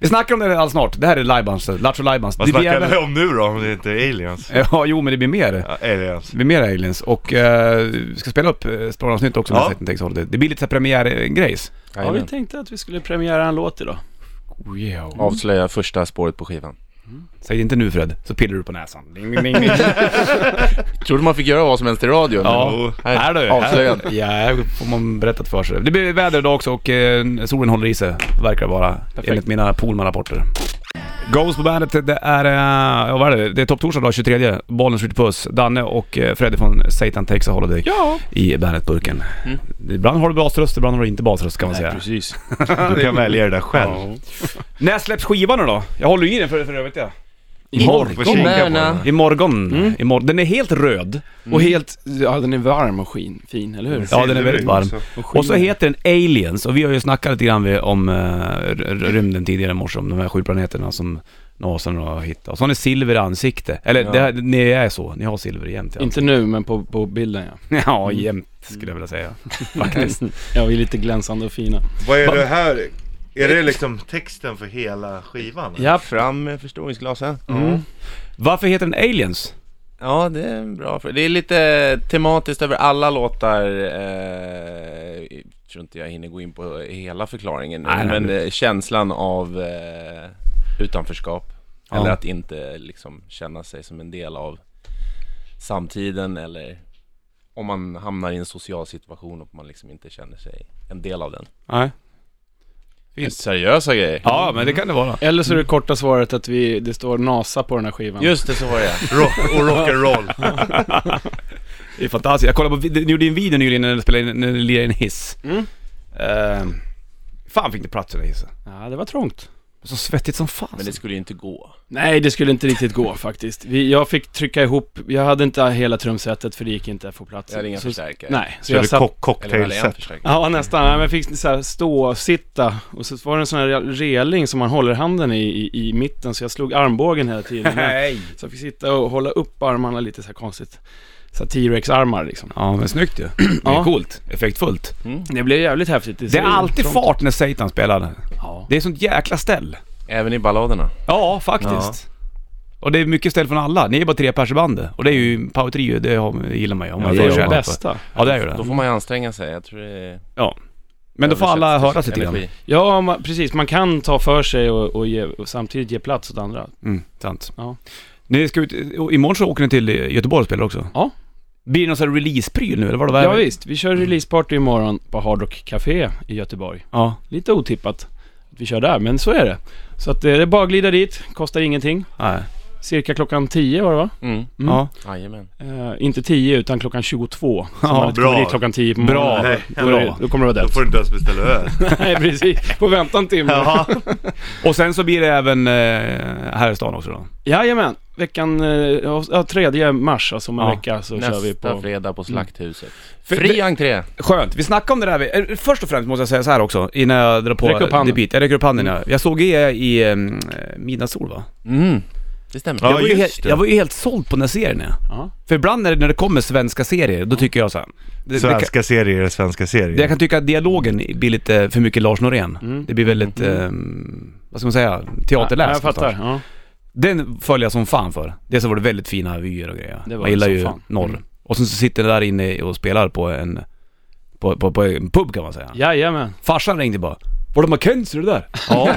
S1: Vi snackar om det här alldeles snart. Det här är Lajbans, Lattjo Lajbans.
S2: Vad
S1: Det blir
S2: snackar vi
S1: även-
S2: om nu då, om det inte är aliens?
S1: Ja, jo men det blir mer.
S2: Ja, aliens.
S1: Det blir mer aliens och eh, vi ska spela upp eh, spåravsnitt också med
S2: Ja.
S1: Satan Takes Holiday. Det blir lite så här premiärgrejs.
S3: ja, vi tänkte att vi skulle premiera en låt idag.
S1: Oh, yeah.
S4: Avslöja första spåret på skivan.
S1: Säg inte nu Fred, så pillar du på näsan. Ding, ding, ding, ding.
S4: Trodde man fick göra vad som helst i radion.
S1: ja,
S4: Här,
S1: här du.
S4: avslöjad.
S1: Här. Ja, här får man berättat för sig. Det blir väder idag också och eh, solen håller i sig, verkar det vara. Enligt mina Polman-rapporter. Ghost på bandet, det är... eh, Ja, vad är det? Det är Topp Torsdag då, 23. Bollen skjuter puss. Danne och eh, Freddy från Satan Takes a Holiday
S3: Ja,
S1: i Bandetburken.
S4: Mm.
S1: Ibland har du basröst, ibland har du inte basröst kan man
S3: Nej,
S1: säga.
S3: precis.
S2: Du kan välja det där själv.
S3: Ja.
S1: När släpps skivan nu då? Jag håller ju i den för, för övrigt ja.
S2: Imorgon får kika på
S4: Bärna.
S2: den.
S1: Imorgon. Imorgon. Den är helt röd.
S3: Och helt, ja den är varm och skin, fin, eller hur?
S1: Ja, den är väldigt varm.
S3: skin.
S1: Och så heter den Aliens och vi har ju snackat lite grann vid- om eh, r- r- rymden tidigare i morse, om de här sju planeterna som NASA nu har hittat. Och så har ni silver i ansikte. Eller det här, ni är så, ni har silver jämt Mm. i
S3: Inte
S1: ansiktet.
S3: nu, men på, på bilden ja.
S1: Ja, jämt skulle jag vilja säga. Faktiskt.
S3: Ja, vi är lite glänsande och fina.
S2: Vad är det här? Är det liksom texten för hela skivan? eller?
S3: Ja,
S4: Fram med förstoringsglasen.
S1: Mm. Varför heter den Aliens?
S4: Ja, det är en bra fråga. Det är lite tematiskt över alla låtar. Eh, jag tror inte jag hinner gå in på hela förklaringen nu,
S1: Nej, nej,
S4: men eh, känslan av eh, utanförskap.
S1: Ja.
S4: Eller att inte liksom känna sig som en del av samtiden eller om man hamnar i en social situation och man liksom inte känner sig en del av den.
S1: Nej.
S4: Seriösa grejer.
S1: Ja, men det kan det vara.
S3: Eller så är det korta svaret att vi, det står NASA på den här skivan.
S4: Just det, så var det
S2: Rock och rock'n'roll.
S1: Det är fantastiskt. Jag kollade på, vid- ni gjorde en video nyligen när ni spelade in, när ni lirade i en hiss.
S3: Mm.
S1: Ehm, fan fick det plats i den hissen.
S3: Ja, det var trångt.
S1: Så svettigt som fan.
S4: Men det skulle ju inte gå.
S3: Nej, det skulle inte riktigt gå faktiskt. Vi, jag fick trycka ihop, jag hade inte hela trumsetet för det gick inte att få plats.
S4: Jag hade inga
S3: så,
S4: förstärkare.
S3: Nej, så
S2: Körde
S3: jag satt...
S2: kock-
S4: Eller väl en
S2: cocktailset.
S4: förstärkare.
S3: Ja, nästan. Nej, men jag fick så här stå, sitta och så var det en sån här reling som man håller handen i, i, i mitten så jag slog armbågen hela tiden.
S1: Nej.
S3: Så jag fick sitta och hålla upp armarna lite så här konstigt. Så här T-Rex-armar liksom.
S1: Ja, men snyggt ju. Det är
S3: Ja.
S1: coolt. Effektfullt.
S3: Det blev jävligt häftigt.
S1: Det är alltid fart när Satan spelar.
S3: Ja.
S1: Det är sånt jäkla ställ.
S4: Även i balladerna.
S1: Ja, faktiskt. Och det är mycket ställ från alla. Ni är bara tre pers i bandet. Och det är ju power trio, det har- gillar man ju. Om man
S3: det är
S1: får
S3: det
S1: köra.
S3: bästa.
S1: Ja, det är ju det.
S4: Då får man ju anstränga sig. Jag tror det är...
S1: Ja. Men då får alla höra sig lite grann.
S4: Energi.
S3: Ja, man, precis. Man kan ta för sig och, och, ge, och samtidigt ge plats åt andra.
S1: Mm, sant.
S3: Ja.
S1: Ni ska ut, och imorgon så åker ni till Göteborg och spelar också.
S3: Ja.
S1: Blir det någon sån här release-pryl nu eller vad det var?
S3: Ja, visst. Vi kör releaseparty imorgon på Hard Rock Café i Göteborg.
S1: Ja.
S3: Lite otippat att vi kör där, men så är det. Så att eh, det är bara att glida dit. Kostar ingenting.
S1: Nej.
S3: Cirka klockan 10 var det va?
S4: Mm.
S3: Mm.
S1: Ja.
S4: Jajamän.
S3: Eh, inte 10 utan klockan 22. Så
S1: Ja,
S3: man inte kommer
S2: bra.
S3: dit klockan 10 på
S1: Bra.
S3: morgonen.
S2: Nej,
S3: Då, är det- då kommer det
S2: Då
S3: vara dött.
S2: får du inte ens beställa öl.
S3: Nej, precis. Får vänta en timme.
S2: Jaha.
S1: Och sen så blir det även eh, här i stan också då?
S3: Jajamän, veckan, eh, ja 3 mars alltså om en
S1: Ja,
S3: vecka så
S4: Nästa
S3: kör vi på...
S4: fredag på Mm. Slakthuset.
S1: För
S4: Fri
S1: det-
S4: entré!
S1: Skönt, vi snackade om det där, vi- eh, först och främst måste jag säga så här också innan jag drar på
S3: Räck upp handen. Mm.
S1: debut. Jag räcker upp handen ja. Jag såg er i eh, Midnattssol va?
S4: Mm. Det stämmer.
S2: Ja.
S1: jag, var ju
S2: just
S1: helt,
S2: det.
S1: jag var ju helt såld på den här serien ja.
S3: Ja.
S1: För ibland när det, när det kommer svenska serier, då tycker jag så här, det, det, kan-
S2: Svenska serier är svenska
S1: det, Jag
S2: serier.
S1: kan tycka att dialogen blir lite för mycket Lars Norén.
S3: Mm.
S1: Det blir väldigt, eh, vad ska man säga, teaterläst.
S3: Ja, jag fattar.
S1: någonstans.
S3: Ja.
S1: Den följer jag som fan för. Dels så var det väldigt fina vyer och grejer.
S3: Det var
S1: Man gillar
S3: som
S1: ju
S3: fan.
S1: norr.
S3: Mm.
S1: Och sen så sitter den där inne och spelar på en, på, på, på en pub kan man säga.
S3: Jajamän.
S1: Farsan ringde bara. Var det Mackenzie det där? Ja.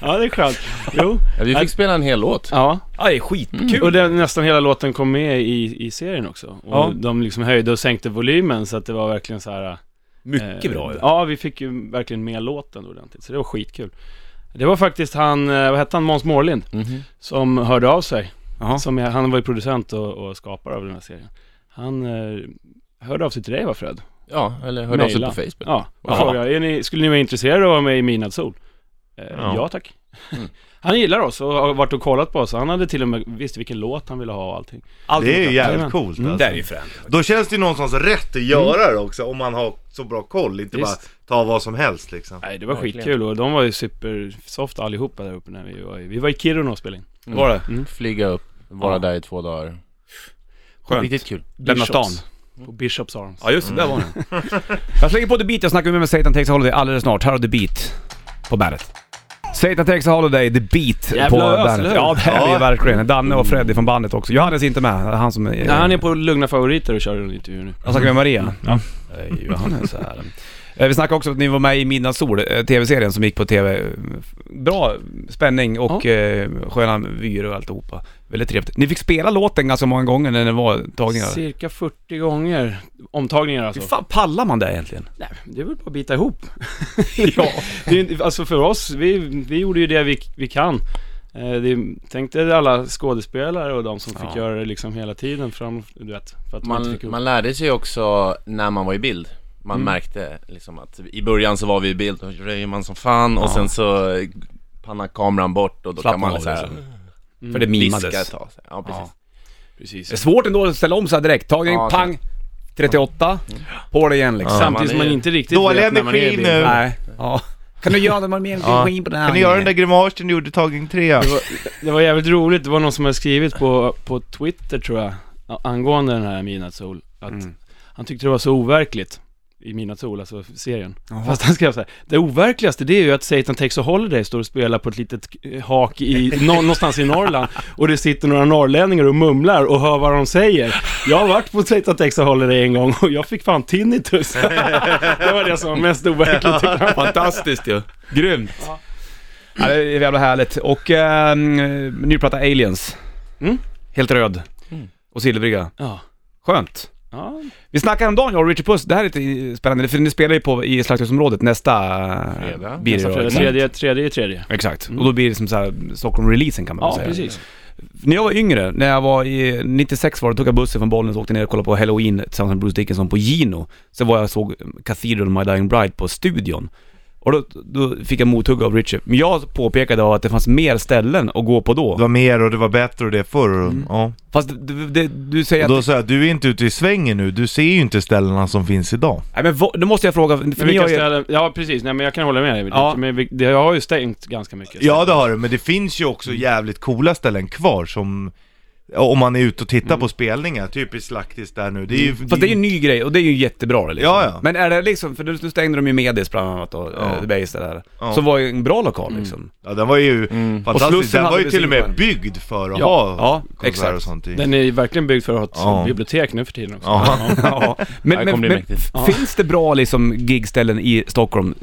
S3: Ja, det är skönt. Jo.
S4: Ja, vi fick spela en hel låt.
S3: Ja.
S1: ja, Mm. det är skitkul.
S3: Och den, nästan hela låten kom med i, i serien också. Och
S1: Ja.
S3: de liksom höjde och sänkte volymen så att det var verkligen så här... eh,
S1: Mycket bra ju.
S3: Ja, vi fick ju verkligen med låten ordentligt. Så det var skitkul. Det var faktiskt han, eh, vad hette han, Måns Mårlind,
S4: Mhm.
S3: som hörde av sig.
S1: Jaha.
S3: Som, är- han var ju producent och, och skapare av den här serien. Han eh, hörde av sig till dig va Fred?
S4: Ja, eller hörde av sig
S3: Maila.
S4: på Facebook.
S3: Ja, och
S1: Ja.
S3: frågade, är ni, skulle ni vara intresserade av att vara med i Midnattssol? Eh,
S2: Ja.
S3: ja. tack. Han gillar oss och har varit och kollat på oss. Han hade till och med visst vilken låt han ville ha och allting.
S1: Allt
S2: Det är ju jävligt
S3: Jajamän.
S2: coolt
S3: Mm.
S1: Det
S2: alltså.
S1: är ju Mm. fränt.
S2: Då känns det ju någonstans rätt att göra det också om man har så bra koll. Inte bara
S3: Visst.
S2: ta vad som helst liksom.
S3: Nej, det var
S4: Verkligen.
S3: skitkul och de var ju supersoft allihopa där uppe när vi var i, vi var i Kiruna och spelade in.
S4: Mm.
S1: Var det?
S4: Flyga upp, vara
S1: Ja.
S4: där i två dagar.
S1: Skönt.
S4: Riktigt kul.
S1: Lämna stan.
S3: Bishops. På Bishops Arms.
S1: Ja just det, där var den. jag slänger på The Beat, jag snackar med mig Satan Takes a Holiday alldeles snart. Här har The Beat på bandet. Satan Takes a Holiday, The Beat
S3: Jävla
S1: på
S3: ös,
S1: bandet.
S3: eller hur?
S1: Ja det är det ju
S2: Ja.
S1: verkligen. Danne och Freddy från bandet också. Johannes är inte med, han som är... Mm,
S3: Nej, han är på Lugna Favoriter och kör en intervju nu.
S1: Jag snackar med Maria. Ja. Han är så här. Eh, Vi snackade också om att ni var med i Midnattssol, eh, tv-serien som gick på tv. Bra spänning och eh, sköna vyer och alltihopa. Väldigt trevligt. Ni fick spela låten ganska många gånger när det var tagningar.
S3: Cirka 40 gånger. Omtagningar
S1: Hur
S3: alltså.
S1: fan pallar man det egentligen?
S3: Nej, det är väl bara att bita ihop. ja. det är, ju inte- alltså för oss, vi, vi gjorde ju det vi, vi kan. Eh, det, är- tänk dig alla skådespelare och de som fick
S1: Ja.
S3: göra det liksom hela tiden fram, du vet, för att man, inte
S4: Man,
S3: fick ihop.
S4: man lärde sig också när man var i bild Man
S3: Mm.
S4: märkte liksom att i början så var vi i bild, då röjer man som fan och
S1: Ja.
S4: sen så pannar kameran bort och då
S1: Slappna
S4: kan man
S1: av
S4: så här,
S1: liksom.
S3: Mm.
S1: För det
S4: viska ett
S1: mimades.
S4: tag så här. Ja precis
S1: Det är
S3: Precis.
S1: svårt ändå att ställa om sig direkt. Tagning,
S4: Ja,
S1: pang, 38, på det igen liksom.
S2: Ja.
S3: Samtidigt som
S4: man
S3: man
S4: är-
S3: inte riktigt
S2: Dålig
S3: vet när man är i
S2: energi
S3: bild.
S2: nu.
S1: Nej. Ja. Kan du göra det med mer
S2: Ja.
S1: energi på den här?
S2: Kan ni göra den där grimasen du gjorde tagning tre?
S3: Det var, det var jävligt roligt, det var någon som hade skrivit på, på Twitter tror jag, a- angående den här Midnattssol, att
S1: Mm.
S3: han tyckte det var så overkligt i Midnattssol, alltså serien.
S1: Jaha.
S3: Fast han skrev så här, det overkligaste det är ju att Satan Takes a Holiday står och spelar på ett litet eh, hak i, nå, någonstans i Norrland och det sitter några norrlänningar och mumlar och hör vad de säger. Jag har varit på Satan Takes a Holiday en gång och jag fick fan tinnitus. det var det som var mest overkligt tyckte han.
S1: Fantastiskt ju. Grymt. Ja. det är jävla härligt. Och um, ny platta Aliens.
S3: Mm.
S1: Helt röd.
S4: Mm.
S1: Och silvriga.
S3: Ja.
S1: Skönt.
S3: ja,
S1: Vi snackade om dagen jag och Richard Puss. Det här är lite spännande, för ni spelar ju på, i Slakthusområdet nästa... eh,
S4: Fredag.
S1: Blir det
S3: nästa
S1: då,
S3: fredag.
S1: exakt.
S3: tredje, tredje, tredje.
S1: Exakt.
S3: Mm.
S1: Och då blir det som så här Stockholm-releasen kan man väl
S3: Ja,
S1: säga.
S3: precis.
S1: När jag var yngre, när jag var i 96 var det, tog jag bussen från Bollnäs och åkte ner och kollade på Halloween tillsammans med Bruce Dickinson på Gino. Så var jag och såg Cathedral My Dying Bride på studion. Och då, då fick jag mothugg av Richard. Men jag påpekade att det fanns mer ställen att gå på då.
S2: Det var mer och det var bättre och det förr. och-
S1: Mm.
S2: Ja.
S1: Fast du, du, du säger
S2: Och
S1: att...
S2: då sa jag, du är inte ute i svängen nu, du ser ju inte ställena som finns idag.
S1: Nej men vad- då måste jag fråga, för
S3: Men
S1: ni
S3: vilka
S1: har ju...
S3: ställen, ja precis, nej men jag kan hålla med dig.
S1: Ja.
S3: Men vi- det, jag har ju stängt ganska mycket.
S2: Ja det har du, men det finns ju också
S1: Mm.
S2: jävligt coola ställen kvar som om man är ute och tittar på spelningar, typ i Slaktis där nu. Det är ju,
S1: Mm. Fast det är ju en ny grej och det är ju jättebra liksom.
S2: Ja, ja.
S1: Men är det liksom, för nu nu stängde de ju Medis bland annat och
S2: Ja.
S1: ja. Base där.
S2: Ja.
S1: Som var ju en bra lokal liksom.
S2: ja, den var ju
S1: Och
S2: fantastisk.
S1: Slussen
S2: Den var
S1: hade
S2: ju till och med
S1: sin-
S2: byggd för att
S1: Ja,
S2: ha
S1: ja,
S2: konserter och
S1: exakt.
S2: sånt i.
S3: Den är ju verkligen byggd för att ha ett
S2: Ja.
S3: bibliotek nu för tiden också.
S2: Ja.
S1: Ja.
S4: Här
S1: Men, men,
S4: kommer det
S1: men
S4: mäktigt.
S1: f- finns det bra liksom gigställen i Stockholm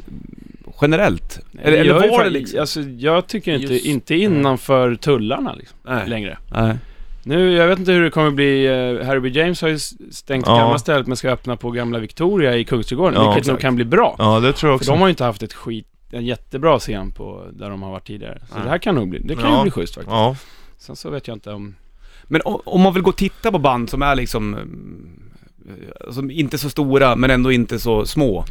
S1: generellt? Eller,
S3: Jag
S1: eller
S3: är ju
S1: var det
S3: fan-
S1: liksom?
S3: alltså, jag tycker inte,
S4: Just-
S3: inte innanför tullarna liksom,
S1: Nej.
S3: längre.
S1: Nej.
S3: Nu, jag vet inte hur det kommer bli, eh, Harry B. James har ju s- stängt
S2: Ja.
S3: gamla stället men ska öppna på gamla Victoria i Kungsträdgården,
S2: Ja,
S3: vilket nog
S2: exakt.
S3: kan bli bra.
S2: Ja det tror jag
S3: För
S2: också.
S3: de har ju inte haft ett skit, en jättebra scen på, där de har varit tidigare. Så
S1: Nej.
S3: det här kan nog bli, det kan
S2: Ja.
S3: ju bli schysst faktiskt.
S2: Ja.
S3: Sen så vet jag inte om...
S1: Men o- om man vill gå och titta på band som är liksom, mm, som inte så stora men ändå inte så små.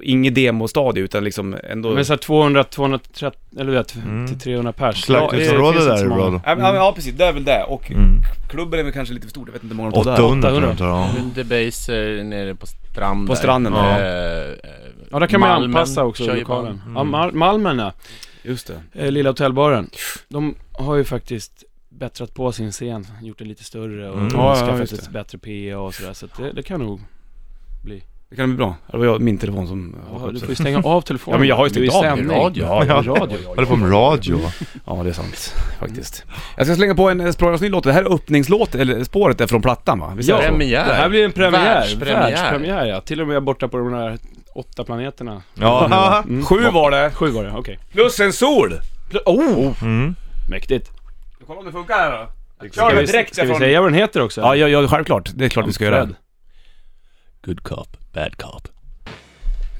S1: Inget demostadie utan liksom ändå...
S3: Men såhär 200, 230, eller du vet,
S2: Mm.
S3: till 300 pers.
S2: Slakthusområdet där är bra då.
S1: Ja, men- ja, men- ja precis, det är väl det. Och
S2: Mm.
S1: klubben är väl kanske lite för stor, jag vet inte hur många de tar där.
S2: 800 tror jag. ja.
S4: Under Baser nere på stranden
S1: På stranden,
S4: där.
S1: ja.
S4: Eh, eh,
S3: Ja, där kan man ju
S4: Malmen
S3: anpassa också
S4: kör ju
S3: lokalen.
S2: barn.
S3: Ja,
S1: Mm.
S3: Mal- Malmen ja.
S1: Just det.
S3: Eh, Lilla hotellbaren. De har ju faktiskt bättrat på sin scen, gjort den lite större och
S2: Mm.
S1: Ja, ja,
S3: skaffat
S1: just
S3: ett
S1: det.
S3: bättre PA och sådär. Så att det, det kan nog...
S1: Det kan bli bra. Det var jag, min telefon som
S3: Ja,
S1: hakade
S3: du
S1: upp
S3: får ju
S1: sig.
S3: stänga av telefonen.
S1: Ja, men jag har ju
S3: Du är i
S1: stängt av
S4: i
S3: sändning.
S4: radio.
S1: Ja,
S3: Ja,
S1: ja.
S3: i radio.
S2: Håller på med radio.
S1: Ja det är sant, faktiskt. Jag ska slänga på en eh, språkans ny låt. Det här är öppningslåt, eller eh, spåret är från plattan va? Visst är
S3: Ja.
S1: det så?
S4: Premiär.
S3: Det här blir en premiär.
S4: Världspremiär.
S3: Världspremiär ja. Till och med borta på de där åtta planeterna.
S2: Ja.
S3: Mm.
S1: Sju var det,
S3: Sju var det, okej.
S1: plus en sol!
S3: Oh!
S2: Mm.
S3: Mäktigt.
S1: Kolla om det funkar här då.
S3: Ska vi, ska vi säga vad den heter också?
S1: Ja, ja, ja, självklart. Det är klart vi ska göra.
S3: Fred.
S4: Good cop, bad cop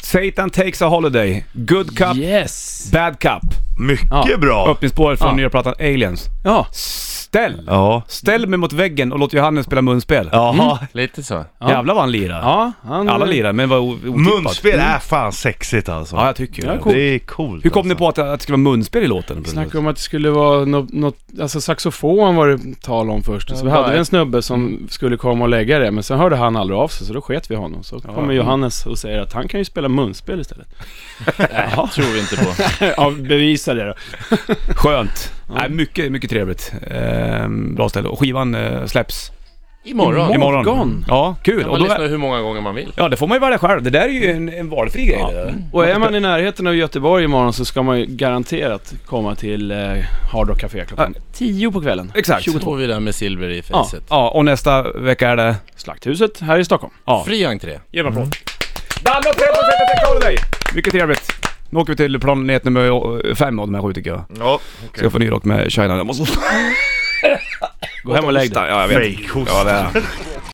S1: Satan takes a holiday. Good cup,
S3: Yes!
S1: bad cup.
S3: Ja.
S2: Mycket bra!
S1: Öppningsspåret från
S3: Ja.
S1: nya plattan Aliens.
S3: Ja,
S1: Ställ!
S2: Ja.
S1: Ställ mig mot väggen och låt Johannes spela munspel.
S2: Ja.
S4: Lite så
S3: Ja.
S1: Jävlar vad han lirar.
S3: ja han... eh,
S1: Alla lirar, men var o- otippat.
S2: Munspel är fan sexigt alltså.
S1: Mm. Ja, jag tycker
S3: Ja,
S1: det.
S3: coolt.
S2: Det är coolt
S1: Hur kom ni
S2: alltså.
S1: på att, att det skulle vara munspel i låten?
S3: Vi snackade om att det skulle vara något, något, alltså saxofon var det tal om först. Så vi hade vi en snubbe som skulle komma och lägga det, men sen hörde han aldrig av sig så då sket vi honom. Så kommer Johannes och säger att han kan ju spela munspel istället.
S4: Nej, Eh, tror vi inte på
S3: ja, bevisa det då.
S1: Skönt. Nej, mycket, mycket trevligt. Ehm, bra ställe. Och skivan eh, släpps
S4: Imorgon,
S1: imorgon.
S3: Morgon.
S1: Ja, kul.
S4: Kan
S1: Och
S4: man
S1: då
S4: lyssna hur många gånger man vill
S1: ja, det får man ju välja själv. Det där är ju en, en valfri grej det där.
S3: Och är man i närheten av Göteborg imorgon så ska man ju garanterat komma till eh, Hard Rock Café klockan 10 på kvällen.
S1: Exakt.
S4: 22 står vi där med silver i facet
S1: Ja, och nästa vecka är det...
S3: Slakthuset här i Stockholm.
S1: Ja.
S4: Fri entré
S1: Ge mig en applåd. Danne och Peter sätter att jag dig! Mycket trevligt. Nu åker vi till planet nummer fem av de här sju tycker jag.
S2: Ja,
S1: Ska jag få ny rock med China. Jag måste... Gå hem och lägg dig. Ja, jag vet.
S2: Fake host.
S1: Ja, det är.